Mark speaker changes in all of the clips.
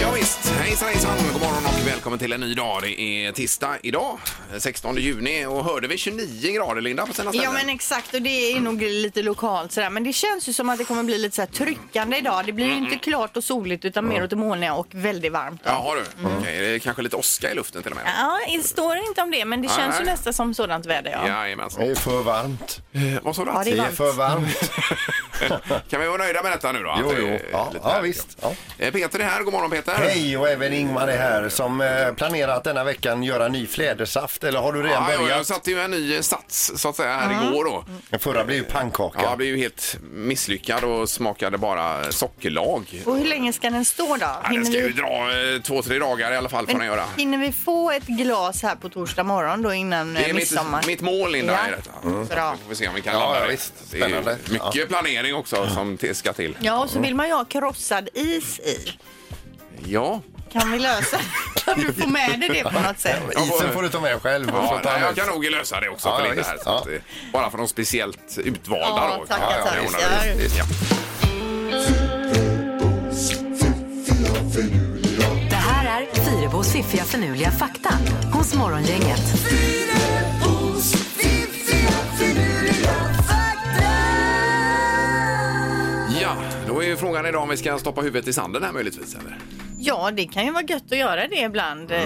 Speaker 1: Ja, visst. hejsan hejsan, god morgon och välkommen till en ny dag. Det är tisdag idag, 16 juni och hörde vi 29 grader Linda på sina ställen?
Speaker 2: Ja men exakt och det är nog lite lokalt sådär. Men det känns ju som att det kommer bli lite så här tryckande idag. Det blir ju
Speaker 1: Mm.
Speaker 2: inte klart och soligt utan mer åt det molniga och väldigt varmt.
Speaker 1: Ja, har du?
Speaker 3: Mm.
Speaker 1: Okej, det är kanske lite åska i luften till och med.
Speaker 2: Ja, det står inte om det men det känns ju
Speaker 1: Nej.
Speaker 2: nästan som sådant väder ja.
Speaker 1: Jajamensan.
Speaker 3: Det är för varmt.
Speaker 1: Eh, Vad sa du?
Speaker 2: Ja,
Speaker 1: att-
Speaker 2: det
Speaker 3: Det
Speaker 2: är
Speaker 3: är för varmt.
Speaker 1: Kan vi vara nöjda med detta nu då?
Speaker 3: Jo,
Speaker 1: Att det
Speaker 3: jo.
Speaker 1: är
Speaker 3: Ja,
Speaker 1: lite
Speaker 3: ja
Speaker 1: härligt,
Speaker 3: visst.
Speaker 1: ja.
Speaker 3: Ja.
Speaker 1: Eh, Peter är här, god morgon Peter.
Speaker 3: Hej och även Ingmar är här som eh, planerar att denna veckan göra ny flädersaft. Eller har du redan
Speaker 1: Ja, jag, jag
Speaker 3: börjat?
Speaker 1: satte ju en ny sats så att säga här igår då.
Speaker 2: Mm.
Speaker 3: Den förra blev ju pannkaka.
Speaker 1: Ja, jag blev ju helt misslyckad och smakade bara sockerlag.
Speaker 2: Och hur länge ska den stå då?
Speaker 1: Ja, den ska ju dra eh, två, tre dagar i alla fall får den göra.
Speaker 2: hinner vi få ett glas här på torsdag morgon då innan
Speaker 1: Det
Speaker 2: eh,
Speaker 1: är
Speaker 2: midsommar?
Speaker 1: mitt, mitt mål Linda.
Speaker 2: Ja. Mm.
Speaker 1: Är detta.
Speaker 2: Bra.
Speaker 1: Får vi se om vi kan
Speaker 3: Ja,
Speaker 1: landa
Speaker 3: ja,
Speaker 1: det.
Speaker 3: visst.
Speaker 1: Det är ju
Speaker 3: Spännande.
Speaker 1: mycket planering också som te- ska till.
Speaker 2: Ja, och så vill man ju ha krossad is i.
Speaker 1: Ja.
Speaker 2: Kan vi lösa Kan du få med dig det på något sätt?
Speaker 3: Isen får du ta med själv. och
Speaker 1: Ja,
Speaker 3: få ta
Speaker 1: nej, jag
Speaker 3: ut.
Speaker 1: kan nog lösa det också
Speaker 3: Ja,
Speaker 1: för
Speaker 3: ja,
Speaker 1: Linda här.
Speaker 3: visst.
Speaker 1: Så att,
Speaker 3: Ja.
Speaker 1: eh, bara för de speciellt utvalda
Speaker 2: Ja,
Speaker 1: då.
Speaker 2: tackar, tackar.
Speaker 1: jag ordnar
Speaker 2: Ja,
Speaker 1: det.
Speaker 2: visst.
Speaker 1: Ja.
Speaker 4: Det här är Fyrebos fiffiga förnuliga fakta hos Morgongänget.
Speaker 1: ja, då är ju frågan idag om vi ska stoppa huvudet i sanden här möjligtvis. Eller?
Speaker 2: Ja, det kan ju vara gött att göra det ibland. Eh,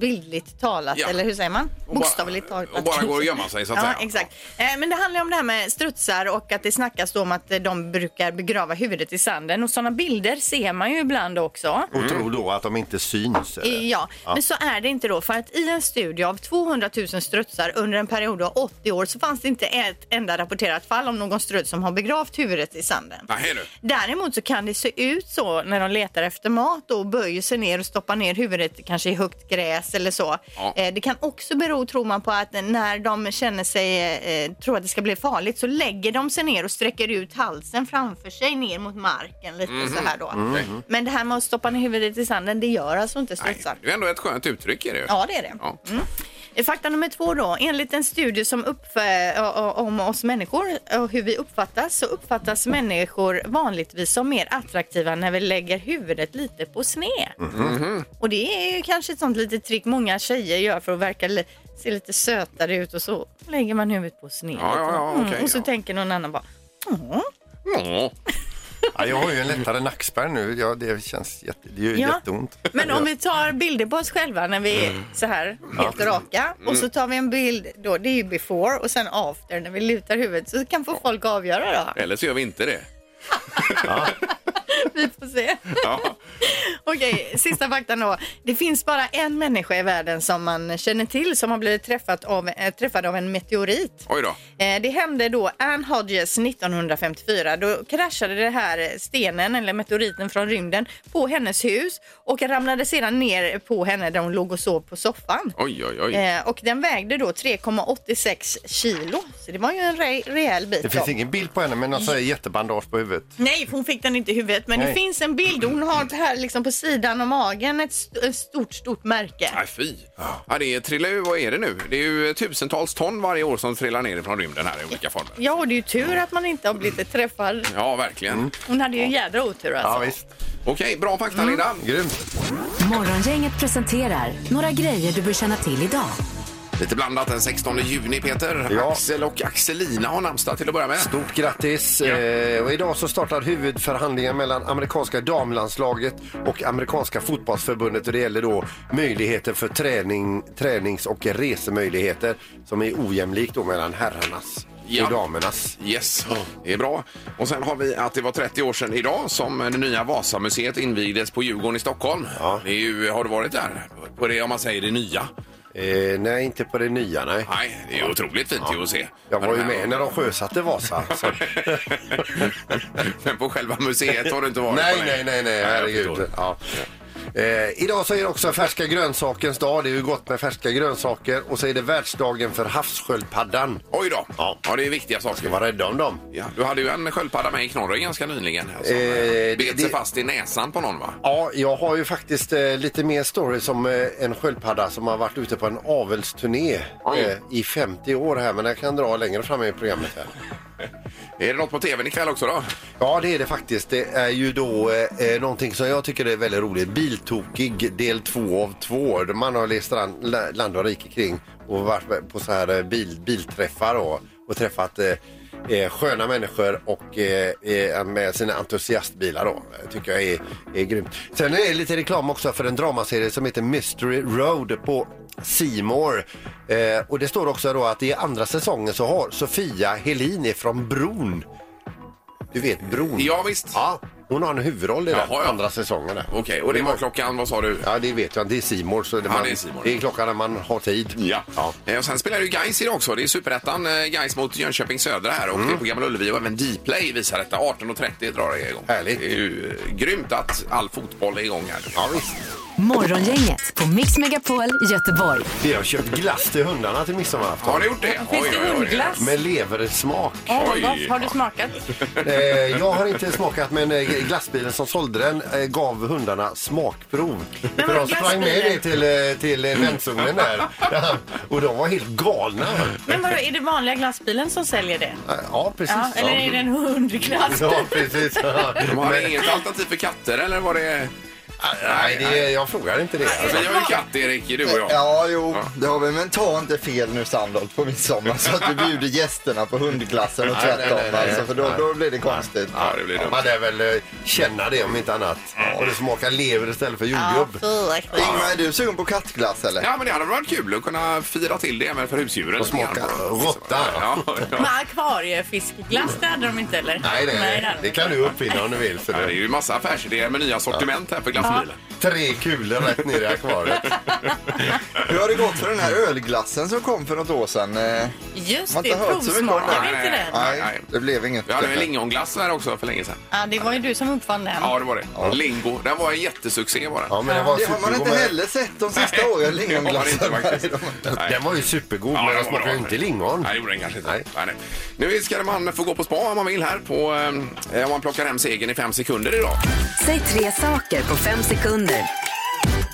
Speaker 2: bildligt talat,
Speaker 1: Mm. Ja.
Speaker 2: eller hur säger man?
Speaker 1: bara-
Speaker 2: Bokstavligt talat.
Speaker 1: och bara gå och gömma sig, så att
Speaker 2: ja,
Speaker 1: säga.
Speaker 2: Exakt. Eh, men det handlar ju om det här med strutsar och att det snackas då om att eh, de brukar begrava huvudet i sanden. Och sådana bilder ser man ju ibland också.
Speaker 1: Mm.
Speaker 2: Eh,
Speaker 3: Och tro då att de inte syns. eller?
Speaker 2: Ja, men så är det inte då. För att i en studie av 200 000 strutsar under en period av 80 år så fanns det inte ett enda rapporterat fall om någon struts som har begravt huvudet i sanden.
Speaker 1: Nej, nu.
Speaker 2: Däremot så kan det se ut så när de letar efter mat och böjer sig ner och stoppar ner huvudet kanske i högt gräs eller så.
Speaker 1: Ja.
Speaker 2: Eh, Det kan också bero, tror man, på att när de känner sig, eh, tror att det ska bli farligt så lägger de sig ner och sträcker ut halsen framför sig ner mot marken lite
Speaker 1: Mhm.
Speaker 2: så här då. Men det här med att stoppa ner huvudet i sanden, det gör alltså inte
Speaker 1: Mm. Nej,
Speaker 2: strutsar.
Speaker 1: det är ändå ett skönt uttryck. Är det ju.
Speaker 2: Ja, det är det.
Speaker 1: Ja.
Speaker 2: Mm. Fakta nummer två då. Enligt en studie som uppf- ö- ö- om oss människor och hur vi uppfattas så uppfattas människor vanligtvis som mer attraktiva när vi lägger huvudet lite på sned.
Speaker 1: Mhm.
Speaker 2: Och det är ju kanske ett sånt litet trick många tjejer gör för att verka li- se lite sötare ut och så lägger man huvudet på sned.
Speaker 1: Ja, ja, ja, okej,
Speaker 2: och så
Speaker 1: ja.
Speaker 2: tänker någon annan bara
Speaker 1: Ja.
Speaker 3: Ja, jag har ju en lättare nackspärr nu. Ja, det känns jätte... Det gör
Speaker 2: Ja.
Speaker 3: jätteont.
Speaker 2: Men om vi tar bilder på oss själva när vi är så här helt raka och så tar vi en bild då, det är ju before och sen after när vi lutar huvudet så kan få folk avgöra då.
Speaker 1: Eller så gör vi inte det.
Speaker 2: Vi får se.
Speaker 1: Ja.
Speaker 2: Okej, sista faktan då. Det finns bara en människa i världen som man känner till som har blivit träffat av, eh, träffad av en meteorit.
Speaker 1: Oj då.
Speaker 2: Eh, Det hände då Anne Hodges 1954. Då kraschade den här stenen eller meteoriten från rymden på hennes hus och ramlade sedan ner på henne där hon låg och sov på soffan.
Speaker 1: Oj, oj, oj.
Speaker 2: Eh, och den vägde då 3,86 kilo. Så det var ju en re- rejäl bit.
Speaker 3: Det finns
Speaker 2: då.
Speaker 3: ingen bild på henne men något sånt här jättebandage på huvudet.
Speaker 2: Nej, för hon fick den inte i huvudet. Men det
Speaker 3: Nej.
Speaker 2: finns en bild. Hon har det här liksom på sidan av magen ett st- ett stort, stort märke.
Speaker 1: Nej, fy. Ja, det är, trillar ju, vad är det nu? Det är ju tusentals ton varje år som trillar ner från rymden här i olika former.
Speaker 2: Ja, och det är ju tur att man inte har blivit träffad.
Speaker 1: Ja, verkligen.
Speaker 3: Mm.
Speaker 2: Hon hade ju en jädra otur
Speaker 3: Ja,
Speaker 2: alltså.
Speaker 3: visst.
Speaker 1: Okej, bra fakta Linda.
Speaker 3: Mm. Grymt.
Speaker 4: Morgongänget presenterar några grejer du bör känna till idag.
Speaker 1: Lite blandat den 16 juni Peter.
Speaker 3: Ja.
Speaker 1: Axel och Axelina har namnsdag till att börja med.
Speaker 3: Stort grattis! Eh, och idag så startar huvudförhandlingen mellan amerikanska damlandslaget och amerikanska fotbollsförbundet och det gäller då möjligheter för träning, tränings och resemöjligheter som är ojämlikt då mellan herrarnas
Speaker 1: Ja.
Speaker 3: och damernas.
Speaker 1: Yes, det är bra. Och sen har vi att det var 30 år sedan idag som det nya Vasamuseet invigdes på Djurgården i Stockholm.
Speaker 3: Ja.
Speaker 1: Det är ju, har du varit där? På det om man säger det nya?
Speaker 3: Eh, nej, inte på det nya nej.
Speaker 1: Nej, det är otroligt fint ju att se.
Speaker 3: Jag var ju
Speaker 1: Men- eh,
Speaker 3: med när de sjösatte Vasa. Så.
Speaker 1: Men på själva museet har du inte varit
Speaker 3: nej,
Speaker 1: på
Speaker 3: nej, nej, nej,
Speaker 1: jag förstår.
Speaker 3: herregud. Ja. Eh, idag så är det också färska grönsakens dag. Det är ju gott med färska grönsaker. Och så är det världsdagen för havssköldpaddan.
Speaker 1: Oj då. Ja.
Speaker 3: Ja.
Speaker 1: det är viktiga saker.
Speaker 3: Ska vara rädda om dem.
Speaker 1: Ja, du hade ju en sköldpadda med i knorren ganska nyligen. här, Som
Speaker 3: Eh,
Speaker 1: eh,
Speaker 3: det-
Speaker 1: bet sig
Speaker 3: det-
Speaker 1: fast i näsan på någon va?
Speaker 3: Ja, jag har ju faktiskt eh, lite mer story som eh, en sköldpadda som har varit ute på en avelsturné eh, i 50 år här, men jag kan dra längre fram i programmet här.
Speaker 1: Är det något på tvn ikväll också då?
Speaker 3: Ja, det är det faktiskt. Det är ju då eh, eh, någonting som jag tycker är väldigt roligt. Biltokig del två av två. Där Man har rest ran- la- land och rike kring och varit på så här eh, bil, bilträffar och, och träffat eh, eh, sköna människor och eh, eh, med sina entusiastbilar då. Det Tycker jag är, är grymt. Sen är det lite reklam också för en dramaserie som heter Mystery Road på Simor. Eh, och det står också då att i andra säsongen så har Sofia Helin från Bron du vet Bron?
Speaker 1: Ja, visst.
Speaker 3: Ja, hon har en huvudroll i den
Speaker 1: Jaha, ja.
Speaker 3: andra säsongen. där.
Speaker 1: Okej, och det var klockan, vad sa du?
Speaker 3: Ja, det vet jag. Det är Simor så det,
Speaker 1: Ja,
Speaker 3: man,
Speaker 1: det är C More.
Speaker 3: det är klockan när man har tid.
Speaker 1: Ja. Eh, Och sen spelar ju Gais idag också. Det är superettan. eh, Gais mot Jönköping Södra här
Speaker 3: Mm.
Speaker 1: och det är på Gamla Ullevi och även Dplay visar detta. 18.30 drar det igång.
Speaker 3: Härligt.
Speaker 1: Det är ju eh, grymt att all fotboll är igång här. Ja, visst.
Speaker 4: Morgongänget på Mix Megapol Göteborg.
Speaker 3: Vi har köpt glass till hundarna till midsommarafton.
Speaker 1: Har ni gjort det?
Speaker 5: Finns det hundglass?
Speaker 3: Med leversmak.
Speaker 5: Åh, vad
Speaker 1: Oj.
Speaker 5: gott. Har du smakat?
Speaker 3: eh, jag har inte smakat men eh, glassbilen som sålde den eh, gav hundarna smakprov.
Speaker 2: Men
Speaker 3: För
Speaker 2: vadå,
Speaker 3: de sprang med
Speaker 2: glassbilen?
Speaker 3: det till, eh, till eh, vänsugnen där. och de var helt galna.
Speaker 2: Men vadå, är det vanliga glassbilen som säljer det?
Speaker 3: Eh, Ja, precis.
Speaker 2: Ja, eller är det en hundglass?
Speaker 3: Ja, precis.
Speaker 1: De har
Speaker 3: Men-
Speaker 1: inget alternativ för katter eller var det?
Speaker 3: Nej, det, jag frågar inte det.
Speaker 1: Alltså, vi har ju katt Erik, du och jag.
Speaker 6: Ja, jo, det har vi. Men ta inte fel nu Sandholt på midsommar så att du bjuder gästerna på hundglassen och
Speaker 3: Nej, nej,
Speaker 6: tvärtom.
Speaker 3: nej, nej.
Speaker 6: Alltså, för då, då blir det konstigt.
Speaker 1: Ja, det blir dumt.
Speaker 3: Man lär väl eh, känna det om inte annat. Och det smakar lever istället för jordgubb.
Speaker 6: Ingmar, är du sugen på kattglass eller?
Speaker 1: Ja, men det hade varit kul att kunna fira till det även för husdjuren.
Speaker 3: Och smaka
Speaker 1: lite grann.
Speaker 3: råtta.
Speaker 1: Ja,
Speaker 5: Med
Speaker 1: ja.
Speaker 5: akvariefiskglass, det hade de inte eller?
Speaker 3: Nej, nej,
Speaker 5: det
Speaker 3: nej.
Speaker 5: hade de
Speaker 3: Det kan du uppfinna om du vill. Så
Speaker 1: Ja, Det är
Speaker 3: det.
Speaker 1: ju massa affärsidéer med nya sortiment här för glassbilen.
Speaker 3: Tre kulor rätt ner i akvariet.
Speaker 6: Hur har det gått för den här ölglassen som kom för något år sedan? Eh,
Speaker 5: Just
Speaker 6: Man
Speaker 5: det,
Speaker 6: har inte hört så mycket om
Speaker 5: provsmakar vi
Speaker 1: det.
Speaker 5: inte den?
Speaker 1: Nej, nej.
Speaker 6: nej, det blev inget.
Speaker 1: Vi hade en lingonglass här också för länge sedan.
Speaker 2: Ja, det var ju du som uppfann den.
Speaker 1: Ja, det var det. Lingo. Den var en jättesuccé var den.
Speaker 3: Ja, men den var
Speaker 6: Det har man
Speaker 3: supergod
Speaker 6: inte
Speaker 3: med-
Speaker 6: heller sett de sista åren, lingonglassen.
Speaker 1: Det har man inte faktiskt. Nej.
Speaker 3: Den var ju supergod,
Speaker 1: Ja,
Speaker 3: men
Speaker 1: det
Speaker 3: den
Speaker 1: var
Speaker 3: smakade
Speaker 1: bra.
Speaker 3: ju inte lingon.
Speaker 1: Nej, det gjorde den kanske inte. Nej.
Speaker 3: Nej.
Speaker 1: Nej, Nu ska man få gå på spa om man vill här på, eh, om man plockar hem segern i fem sekunder idag.
Speaker 4: Säg tre saker på fem sekunder.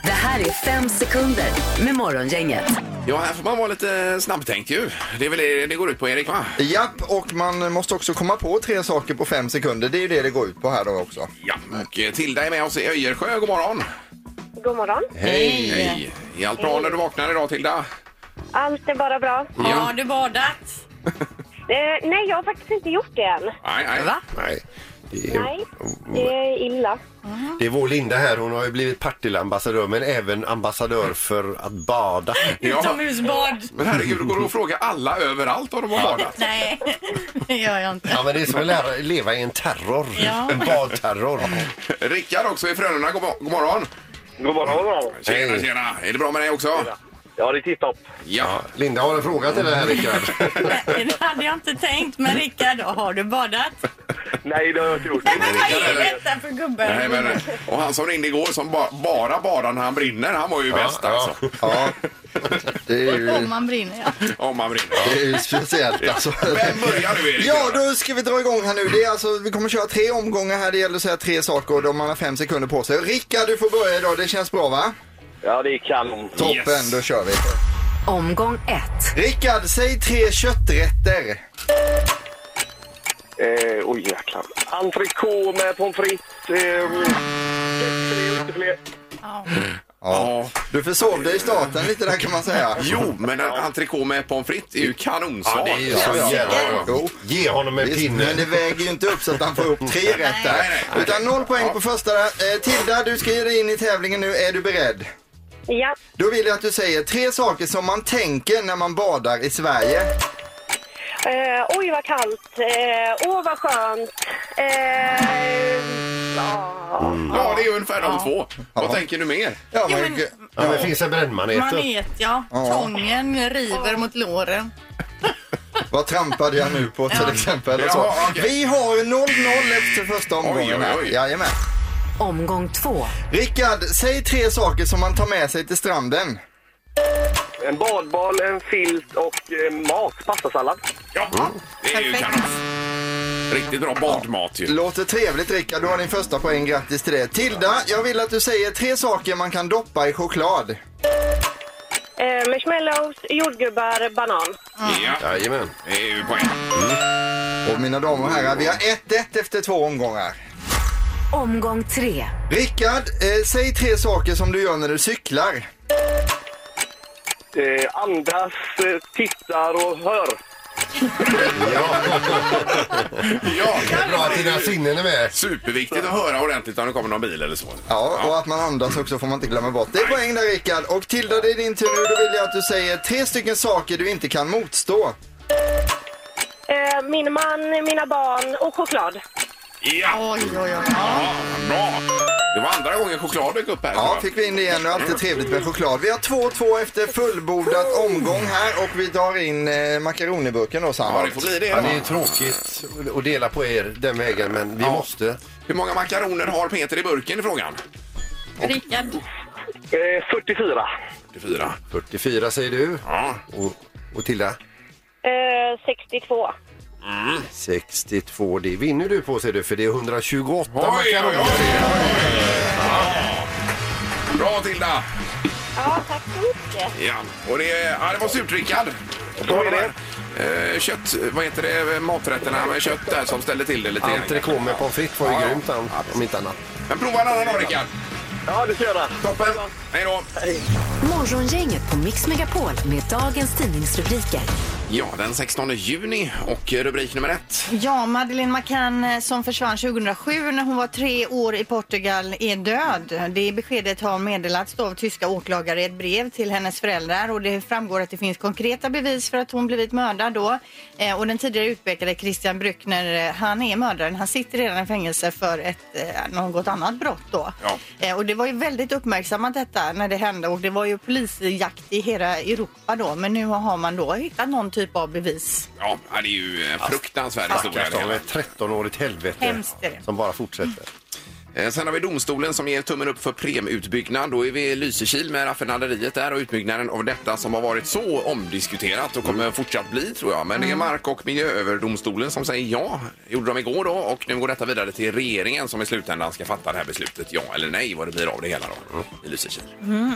Speaker 4: Det här är fem sekunder med Morgongänget.
Speaker 1: Ja, här får man vara lite snabbtänkt ju. Det är väl det det går ut på Erik va?
Speaker 6: Japp, och man måste också komma på tre saker på fem sekunder. Det är ju det det går ut på här då också.
Speaker 1: Ja, och eh, Tilda är med oss i Öjersjö. God morgon!
Speaker 7: God morgon.
Speaker 1: Hej! Hej. Är allt bra när du vaknar idag Tilda?
Speaker 7: Allt är bara bra.
Speaker 5: Har du badat?
Speaker 7: Eh, nej, jag har faktiskt inte gjort det än.
Speaker 1: Nej, nej.
Speaker 5: Va?
Speaker 3: Nej. Det är,
Speaker 7: Nej, det är illa.
Speaker 3: det är vår Linda här. Hon har ju blivit Partille-ambassadör, men även ambassadör för att bada.
Speaker 1: Ja.
Speaker 5: Utomhusbad?
Speaker 1: Men herregud, det går det att fråga alla överallt om de har badat?
Speaker 5: Nej, det gör jag inte.
Speaker 3: Ja, men det är som att lära, leva i en terror.
Speaker 5: Ja.
Speaker 3: En badterror.
Speaker 1: Rickard också i Frölunda. God, mo- god morgon!
Speaker 8: God morgon, god morgon.
Speaker 1: Tjena,
Speaker 3: Hej.
Speaker 1: tjena! Är det bra med dig också?
Speaker 8: Ja, det är tipptopp.
Speaker 1: Ja.
Speaker 3: Linda har en fråga till dig här, Rickard.
Speaker 5: Nej, det hade jag inte tänkt. Men Rickard, har du badat?
Speaker 8: Nej, det har jag inte gjort.
Speaker 5: Nej, men vad är detta för
Speaker 1: Nej,
Speaker 5: gubbe?
Speaker 1: men, och han som ringde igår som ba, bara badar när han brinner, han var ju bäst
Speaker 3: ja.
Speaker 1: alltså.
Speaker 6: Ja, det är
Speaker 5: Om
Speaker 6: ju,
Speaker 5: man brinner, ja.
Speaker 1: Om han brinner.
Speaker 6: det är ju speciellt alltså.
Speaker 1: Vem börjar nu Erik?
Speaker 6: Ja, då ska vi dra igång här nu. Det är alltså, vi kommer köra tre omgångar här. Det gäller att säga tre saker och då man har fem sekunder på sig. Rickard, du får börja idag. Det känns bra va?
Speaker 8: Ja, det är kanon.
Speaker 6: Toppen,
Speaker 1: Yes.
Speaker 6: då kör vi.
Speaker 4: Omgång ett.
Speaker 6: Rickard, säg tre kötträtter.
Speaker 8: Eh, oj, jäklar. Entrecote med pommes frites. ehm, Tre, inte fler.
Speaker 1: Ja.
Speaker 6: Du försov dig i starten lite där kan man säga.
Speaker 1: Jo, men en entrecote med pommes frites är ju kanonsvar.
Speaker 3: Ja, det är ju så jävla bra.
Speaker 6: Jo.
Speaker 3: Ge honom en
Speaker 6: Visst,
Speaker 3: pinne.
Speaker 6: men det väger ju inte upp så att han får upp tre rätt där.
Speaker 1: Nej, nej.
Speaker 6: Utan noll poäng på första. där. Eh, Tilda, du ska ge dig in i tävlingen nu. Är du beredd?
Speaker 7: Ja,
Speaker 6: Då vill jag att du säger tre saker som man tänker när man badar i Sverige.
Speaker 7: eh, oj vad kallt. Eh, åh vad skönt. Eh, ja.
Speaker 1: Ja, det är ju ungefär de två. Vad tänker du mer?
Speaker 6: Ja,
Speaker 5: Jo,
Speaker 6: men...
Speaker 5: men-
Speaker 3: Ja, men finns det brännmaneter?
Speaker 5: Manet, ja. Tången river mot låren.
Speaker 6: Vad trampade jag nu på till exempel? Och så.
Speaker 1: Ja, okej.
Speaker 6: Vi har ju 0-0 efter första omgången.
Speaker 1: Oj, oj, oj.
Speaker 6: här. Jajamän.
Speaker 4: Omgång två.
Speaker 6: Rickard, säg tre saker som man tar med sig till stranden.
Speaker 8: En badboll, en filt och eh, mat. Pastasallad.
Speaker 1: Ja, det är ju kanon. Riktigt bra badmat ju.
Speaker 6: Låter trevligt Rickard, du har din första poäng. Grattis till det. Tilda, jag vill att du säger tre saker man kan doppa i choklad.
Speaker 7: Eh, marshmallows, jordgubbar, banan.
Speaker 1: Ja,
Speaker 3: Jajamän.
Speaker 1: det är ju poäng.
Speaker 6: Och mina damer och herrar, vi har 1-1 efter två omgångar.
Speaker 4: Omgång tre.
Speaker 6: Rickard, eh, säg tre saker som du gör när du cyklar.
Speaker 8: Eh, andas, eh, tittar och hör.
Speaker 1: Ja,
Speaker 3: Bra att dina sinnen är med.
Speaker 1: superviktigt att höra ordentligt om det kommer någon bil eller så.
Speaker 6: Ja, och att man andas också får man inte glömma bort. Det är poäng där Rickard. Och Tilda, det är din tur nu. Då vill jag att du säger tre stycken saker du inte kan motstå.
Speaker 7: Eh, min man, mina barn och choklad.
Speaker 1: Ja,
Speaker 2: Oj, oj, oj.
Speaker 1: ja, bra. Det var andra gången choklad dök upp här.
Speaker 6: Ja, fick vi in det igen. Det är alltid trevligt med choklad. Vi har 2-2 efter fullbordat omgång här och vi tar in eh, makaroniburken då,
Speaker 1: Ja,
Speaker 6: Sandholt.
Speaker 1: det får bli
Speaker 3: Ja, det
Speaker 1: det.
Speaker 3: är tråkigt att dela på er den vägen, men vi måste.
Speaker 1: Hur många makaroner har Peter i burken i frågan?
Speaker 5: Rickard.
Speaker 8: Eh, 44.
Speaker 1: 44.
Speaker 3: 44 säger du.
Speaker 1: Ja,
Speaker 3: Och, och Tilda?
Speaker 7: Eh, 62.
Speaker 3: Mm. 62. Det vinner du på ser du, för det är 128
Speaker 1: Oj, oj, oj,
Speaker 3: makaroner.
Speaker 1: Bra Tilda!
Speaker 7: Ja, tack så mycket.
Speaker 1: Ja, och det, ja, det var surt Rickard.
Speaker 8: Så är det.
Speaker 1: Eh, Kött, vad heter det, eh, maträtterna med kött där som ställde till det lite. grann.
Speaker 3: Entrecote med pommes frites var ju
Speaker 1: Ja, ja.
Speaker 3: grymt, om- om inte annat.
Speaker 1: Men prova en annan dag Rickard.
Speaker 8: Ja, det ska jag göra.
Speaker 1: Toppen! Hej då!
Speaker 4: Morgongänget på Mix Megapol med dagens tidningsrubriker.
Speaker 1: Ja, den 16 juni och rubrik nummer ett.
Speaker 2: Ja, Madeleine McCann eh, som försvann 2007 när hon var tre år i Portugal är död. Det beskedet har meddelats då av tyska åklagare i ett brev till hennes föräldrar och det framgår att det finns konkreta bevis för att hon blivit mördad då. Eh, och den tidigare utpekade Christian Brückner, eh, han är mördaren. Han sitter redan i fängelse för ett, eh, något annat brott då.
Speaker 1: Ja.
Speaker 2: Eh, och det var ju väldigt uppmärksammat detta när det hände och det var ju polisjakt i hela Europa då. Men nu har man då hittat någon typ av bevis.
Speaker 1: Ja, det är ju eh,
Speaker 8: Alltså,
Speaker 1: en fruktansvärd historia. det
Speaker 3: Stackars
Speaker 1: hela.
Speaker 3: ett 13-årigt helvete
Speaker 2: Hemskt är det.
Speaker 3: som bara fortsätter.
Speaker 1: Eh, Sen har vi domstolen som ger tummen upp för premutbyggnad. Då är vi i Lysekil med raffinaderiet där och utbyggnaden av detta som har varit så omdiskuterat och kommer fortsatt bli tror jag. Men det är Mark och miljööverdomstolen som säger ja. Gjorde de igår då och nu går detta vidare till regeringen som i slutändan ska fatta det här beslutet. Ja eller nej vad det blir av det hela då i Lysekil.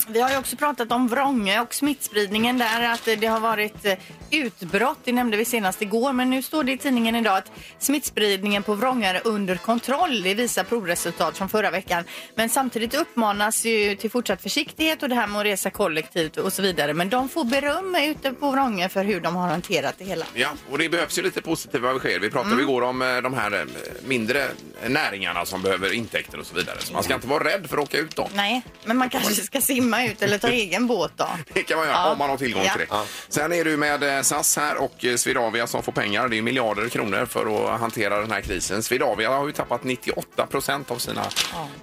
Speaker 2: Vi har ju också pratat om Vrånge och smittspridningen där, att eh, det har varit eh, utbrott. Det nämnde vi senast igår, men nu står det i tidningen idag att smittspridningen på Vrånge är under kontroll. Det visar provresultat från förra veckan. Men samtidigt uppmanas ju till fortsatt försiktighet och det här med att resa kollektivt och så vidare. Men de får beröm ute på Vrånge för hur de har hanterat det hela.
Speaker 1: Ja, och det behövs ju lite positiva besked. Vi pratade igår om eh, de här eh, mindre näringarna som behöver intäkter och så vidare. Så man ska inte vara rädd för att åka ut dem.
Speaker 2: Nej, men man kanske ska simma ut eller ta egen båt då.
Speaker 1: Det kan man göra
Speaker 2: Ja.
Speaker 1: om man har tillgång till det.
Speaker 2: Ja.
Speaker 1: Sen är det ju med eh, SAS här och eh, Swedavia som får pengar. Det är miljarder kronor för att hantera den här krisen. Swedavia har ju tappat 98 procent av sina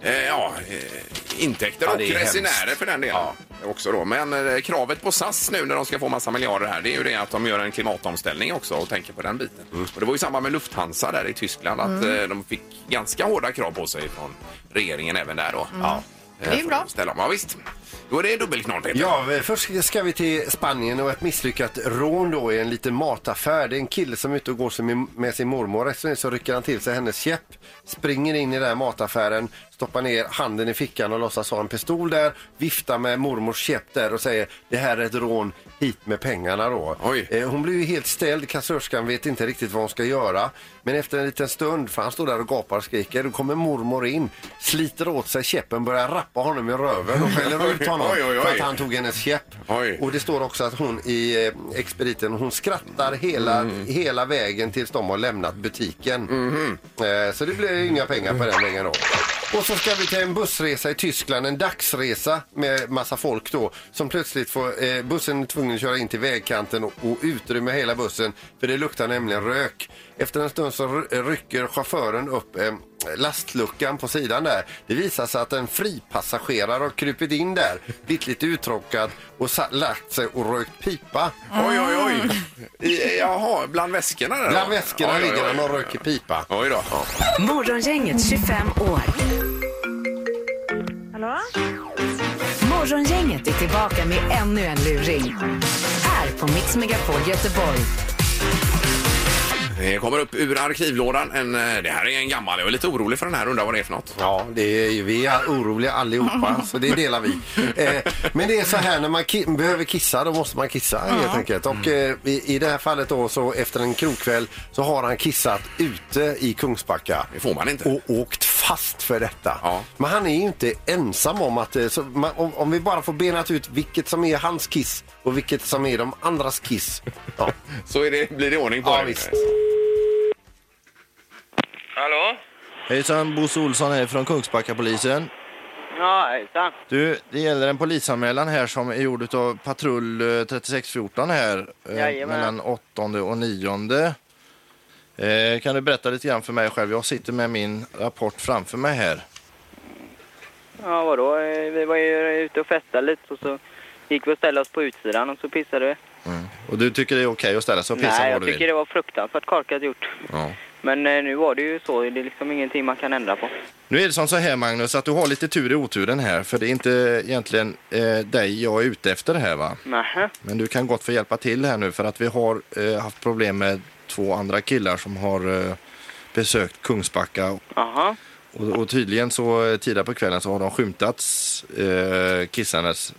Speaker 1: eh, ja, eh, intäkter
Speaker 3: Ja,
Speaker 1: och
Speaker 3: det är hemskt.
Speaker 1: resenärer för den delen. Också då. Men eh, kravet på SAS nu när de ska få massa miljarder här det är ju det att de gör en klimatomställning också och tänker på den biten.
Speaker 3: Mm.
Speaker 1: Och det var ju samma med Lufthansa där i Tyskland att
Speaker 2: Mm.
Speaker 1: eh, de fick ganska hårda krav på sig från regeringen även där då. Ja.
Speaker 2: Mm. Det är ju
Speaker 1: För
Speaker 2: bra.
Speaker 1: att Ställa om. Ja, visst. Då är det dubbelknorr Peter.
Speaker 3: Ja, eh, först ska vi till Spanien och ett misslyckat rån då i en liten mataffär. Det är en kille som är ute och går sin- med sin mormor. Efter så rycker han till sig hennes käpp, springer in i den här mataffären, stoppar ner handen i fickan och låtsas ha en pistol där, viftar med mormors käpp där och säger det här är ett rån, hit med pengarna då.
Speaker 1: Oj.
Speaker 3: Eh, Hon blir ju helt ställd, kassörskan vet inte riktigt vad hon ska göra. Men efter en liten stund, för han står där och gapar och skriker, då kommer mormor in, sliter åt sig käppen, börjar rappa honom i röven och skäller ut honom
Speaker 1: Oj, oj, oj.
Speaker 3: för att han tog hennes käpp.
Speaker 1: Oj.
Speaker 3: Och det står också att hon i eh, expediten, hon skrattar hela,
Speaker 1: Mm.
Speaker 3: hela vägen tills de har lämnat butiken.
Speaker 1: Mhm.
Speaker 3: Eh, så det blir inga pengar på den vägen då. Och så ska vi till en bussresa i Tyskland, en dagsresa med massa folk då som plötsligt får, eh, bussen är tvungen att köra in till vägkanten och, och utrymma hela bussen för det luktar nämligen rök. Efter en stund så ry- rycker chauffören upp eh, lastluckan på sidan där. Det visar sig att en fripassagerare har krupit in där, blivit lite uttråkad och sa- lagt sig och rökt pipa.
Speaker 1: Oj, oj, oj. I, jaha, bland väskorna där då?
Speaker 3: Ah. Bland väskorna ligger han och röker pipa.
Speaker 1: Oj då.
Speaker 4: Morgongänget 25 år. Morgongänget är tillbaka med ännu en luring. Här på Mix Megapol Göteborg.
Speaker 1: Det kommer upp ur arkivlådan. En, eh, det här är en gammal. Jag är lite orolig för den här. Undrar vad det är för något.
Speaker 3: Ja, det är, ju- vi är oroliga allihopa, så det delar vi. Eh, men det är så här, när man ki- behöver kissa, då måste man kissa helt enkelt. Och eh, i, i det här fallet då, så efter en krogkväll så har han kissat ute i Kungsbacka. Det
Speaker 1: får man inte.
Speaker 3: Och åkt fast för detta. Men han är ju inte ensam om att... eh, Så man, om, om vi bara får benat ut vilket som är hans kiss och vilket som är de andras kiss. Ja.
Speaker 1: Så är det, blir det ordning på
Speaker 3: ja,
Speaker 1: det.
Speaker 3: Visst.
Speaker 9: Hallå?
Speaker 10: Hejsan, Bosse Olsson här från Kungsbackapolisen.
Speaker 9: Ja, hejsan.
Speaker 10: Du, det gäller en polisanmälan här som är gjord av patrull eh, 3614 här. eh,
Speaker 9: Jajamän.
Speaker 10: Mellan 8 och 9. Eh, kan du berätta lite grann för mig själv? Jag sitter med min rapport framför mig här.
Speaker 9: Ja, vadå? Eh, Vi var ju ute och festade lite och så gick vi och ställde oss på utsidan och så pissade vi.
Speaker 10: Mm. Och du tycker det är okej att ställa sig och pissa
Speaker 9: Nej,
Speaker 10: var
Speaker 9: jag
Speaker 10: du
Speaker 9: tycker
Speaker 10: vill?
Speaker 9: det var fruktansvärt korkat gjort.
Speaker 10: Ja.
Speaker 9: Men eh, nu var det ju så. Det är liksom ingenting man kan ändra på.
Speaker 10: Nu är det som så här Magnus, att du har lite tur i oturen här. För det är inte egentligen eh, dig jag är ute efter här va?
Speaker 9: Nähä.
Speaker 10: Men du kan gott få hjälpa till här nu för att vi har eh, haft problem med två andra killar som har eh, besökt Kungsbacka.
Speaker 9: Aha.
Speaker 10: Och, och tydligen så eh, tidigare på kvällen så har de skymtats eh, kissandes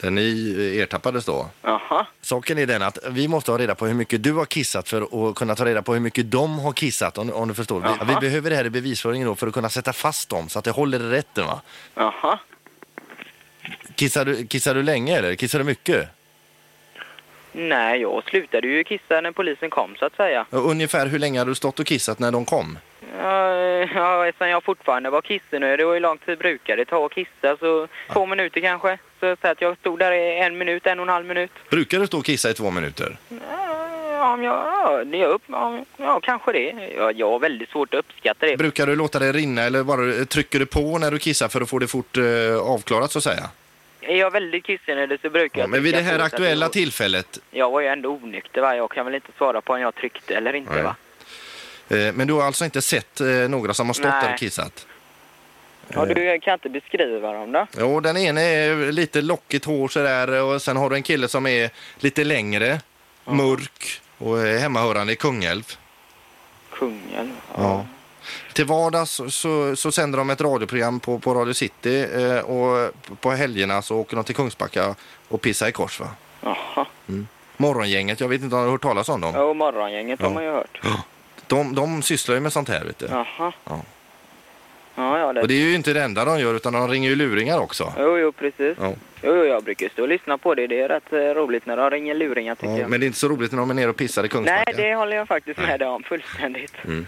Speaker 10: där ni eh, ertappades då.
Speaker 9: Aha.
Speaker 10: Saken är den att vi måste ha reda på hur mycket du har kissat för att kunna ta reda på hur mycket de har kissat om, om du förstår.
Speaker 9: Jaha.
Speaker 10: Vi, vi behöver det här i bevisföringen då för att kunna sätta fast dem så att det håller i rätten va.
Speaker 9: Aha.
Speaker 10: Kissar du, kissar du länge eller kissar du mycket?
Speaker 9: Nej, jag slutade ju kissa när polisen kom så att säga.
Speaker 10: Ungefär hur länge har du stått och kissat när de kom?
Speaker 9: Ja, eh, ja, eftersom jag fortfarande var kissnödig och hur lång tid brukar det ta att kissa så två minuter kanske. Så, så att jag stod där i en minut, en och en halv minut.
Speaker 10: Brukar du stå och kissa i två minuter?
Speaker 9: Ja, om jag, ja, det är upp, om, ja, kanske det. Jag, jag har väldigt svårt att uppskatta det.
Speaker 10: Brukar du låta det rinna eller bara eh, trycker du på när du kissar för att få det fort eh, avklarat så att säga?
Speaker 9: Är jag väldigt kissnödig så brukar jag...
Speaker 10: Men vid det
Speaker 9: trycka
Speaker 10: här
Speaker 9: på, så att
Speaker 10: aktuella
Speaker 9: jag-
Speaker 10: tillfället,
Speaker 9: Jag var ju ändå onykter va. Jag kan väl inte svara på om jag tryckte eller inte
Speaker 10: Nej.
Speaker 9: va.
Speaker 10: eh, men du har alltså inte sett eh, några som har stått
Speaker 9: Nej.
Speaker 10: där och kissat?
Speaker 9: Ja, du kan inte beskriva dem då?
Speaker 10: Jo, den ene är lite lockigt hår sådär och sen har du en kille som är lite längre, mörk och är hemmahörande i Kungälv.
Speaker 9: Kungen.
Speaker 10: Ja. Till vardags så, så, så sänder de ett radioprogram på, på Radio City eh, och på helgerna så åker de till Kungsbacka och pissar i kors va?
Speaker 9: Jaha.
Speaker 10: Mm. Morgongänget, jag vet inte om du har hört talas om dem?
Speaker 9: Ja, och morgongänget har
Speaker 10: Ja.
Speaker 9: man ju hört.
Speaker 10: De, de sysslar ju med sånt här vet du.
Speaker 9: Jaha.
Speaker 10: Ja.
Speaker 9: Ja, ja, det...
Speaker 10: Och det är ju inte det enda de gör utan de ringer ju luringar också.
Speaker 9: Jo, jo, precis.
Speaker 10: Ja.
Speaker 9: Jo, jo, jag brukar stå och lyssna på det. Det är rätt eh, roligt när de ringer luringar tycker
Speaker 10: Ja,
Speaker 9: jag.
Speaker 10: men det är inte så roligt när de är nere och pissar i Kungsbacka.
Speaker 9: Nej, det håller jag faktiskt med dig om fullständigt.
Speaker 10: Mm.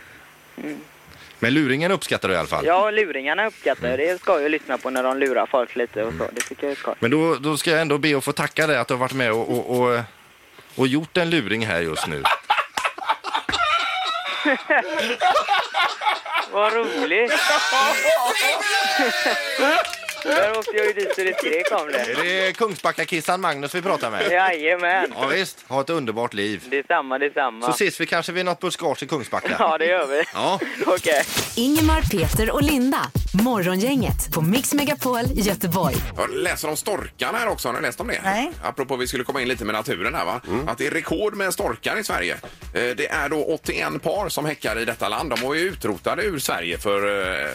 Speaker 9: Mm.
Speaker 10: Men luringen uppskattar du i alla fall?
Speaker 9: Ja, och luringarna uppskattar jag. Det ska jag ju lyssna på när de lurar folk lite och så. Det tycker jag är skoj.
Speaker 10: Mm. Men då, då ska jag ändå be att få tacka dig att du har varit med och, och, och, och gjort en luring här just nu.
Speaker 9: Vad roligt! Där åkte jag ju dit så det skrek om det.
Speaker 10: Det är Kungsbackakissan Magnus vi pratar med.
Speaker 9: Jajamän!
Speaker 10: Ja, visst, ha ett underbart liv.
Speaker 9: Detsamma, detsamma.
Speaker 10: Så ses vi kanske vid något buskage i Kungsbacka.
Speaker 9: Ja, det gör vi.
Speaker 10: Ja.
Speaker 9: Okej.
Speaker 4: Ingemar, Peter och Linda. Morgongänget på Mix Megapol Göteborg.
Speaker 1: Jag läser om storkarna här också. Har ni läst om det?
Speaker 4: Nej.
Speaker 1: Apropå vi skulle komma in lite med naturen här va?
Speaker 3: Mm.
Speaker 1: Att det är rekord med storkar i Sverige. Eh, Det är då 81 par som häckar i detta land. De var ju utrotade ur Sverige för eh,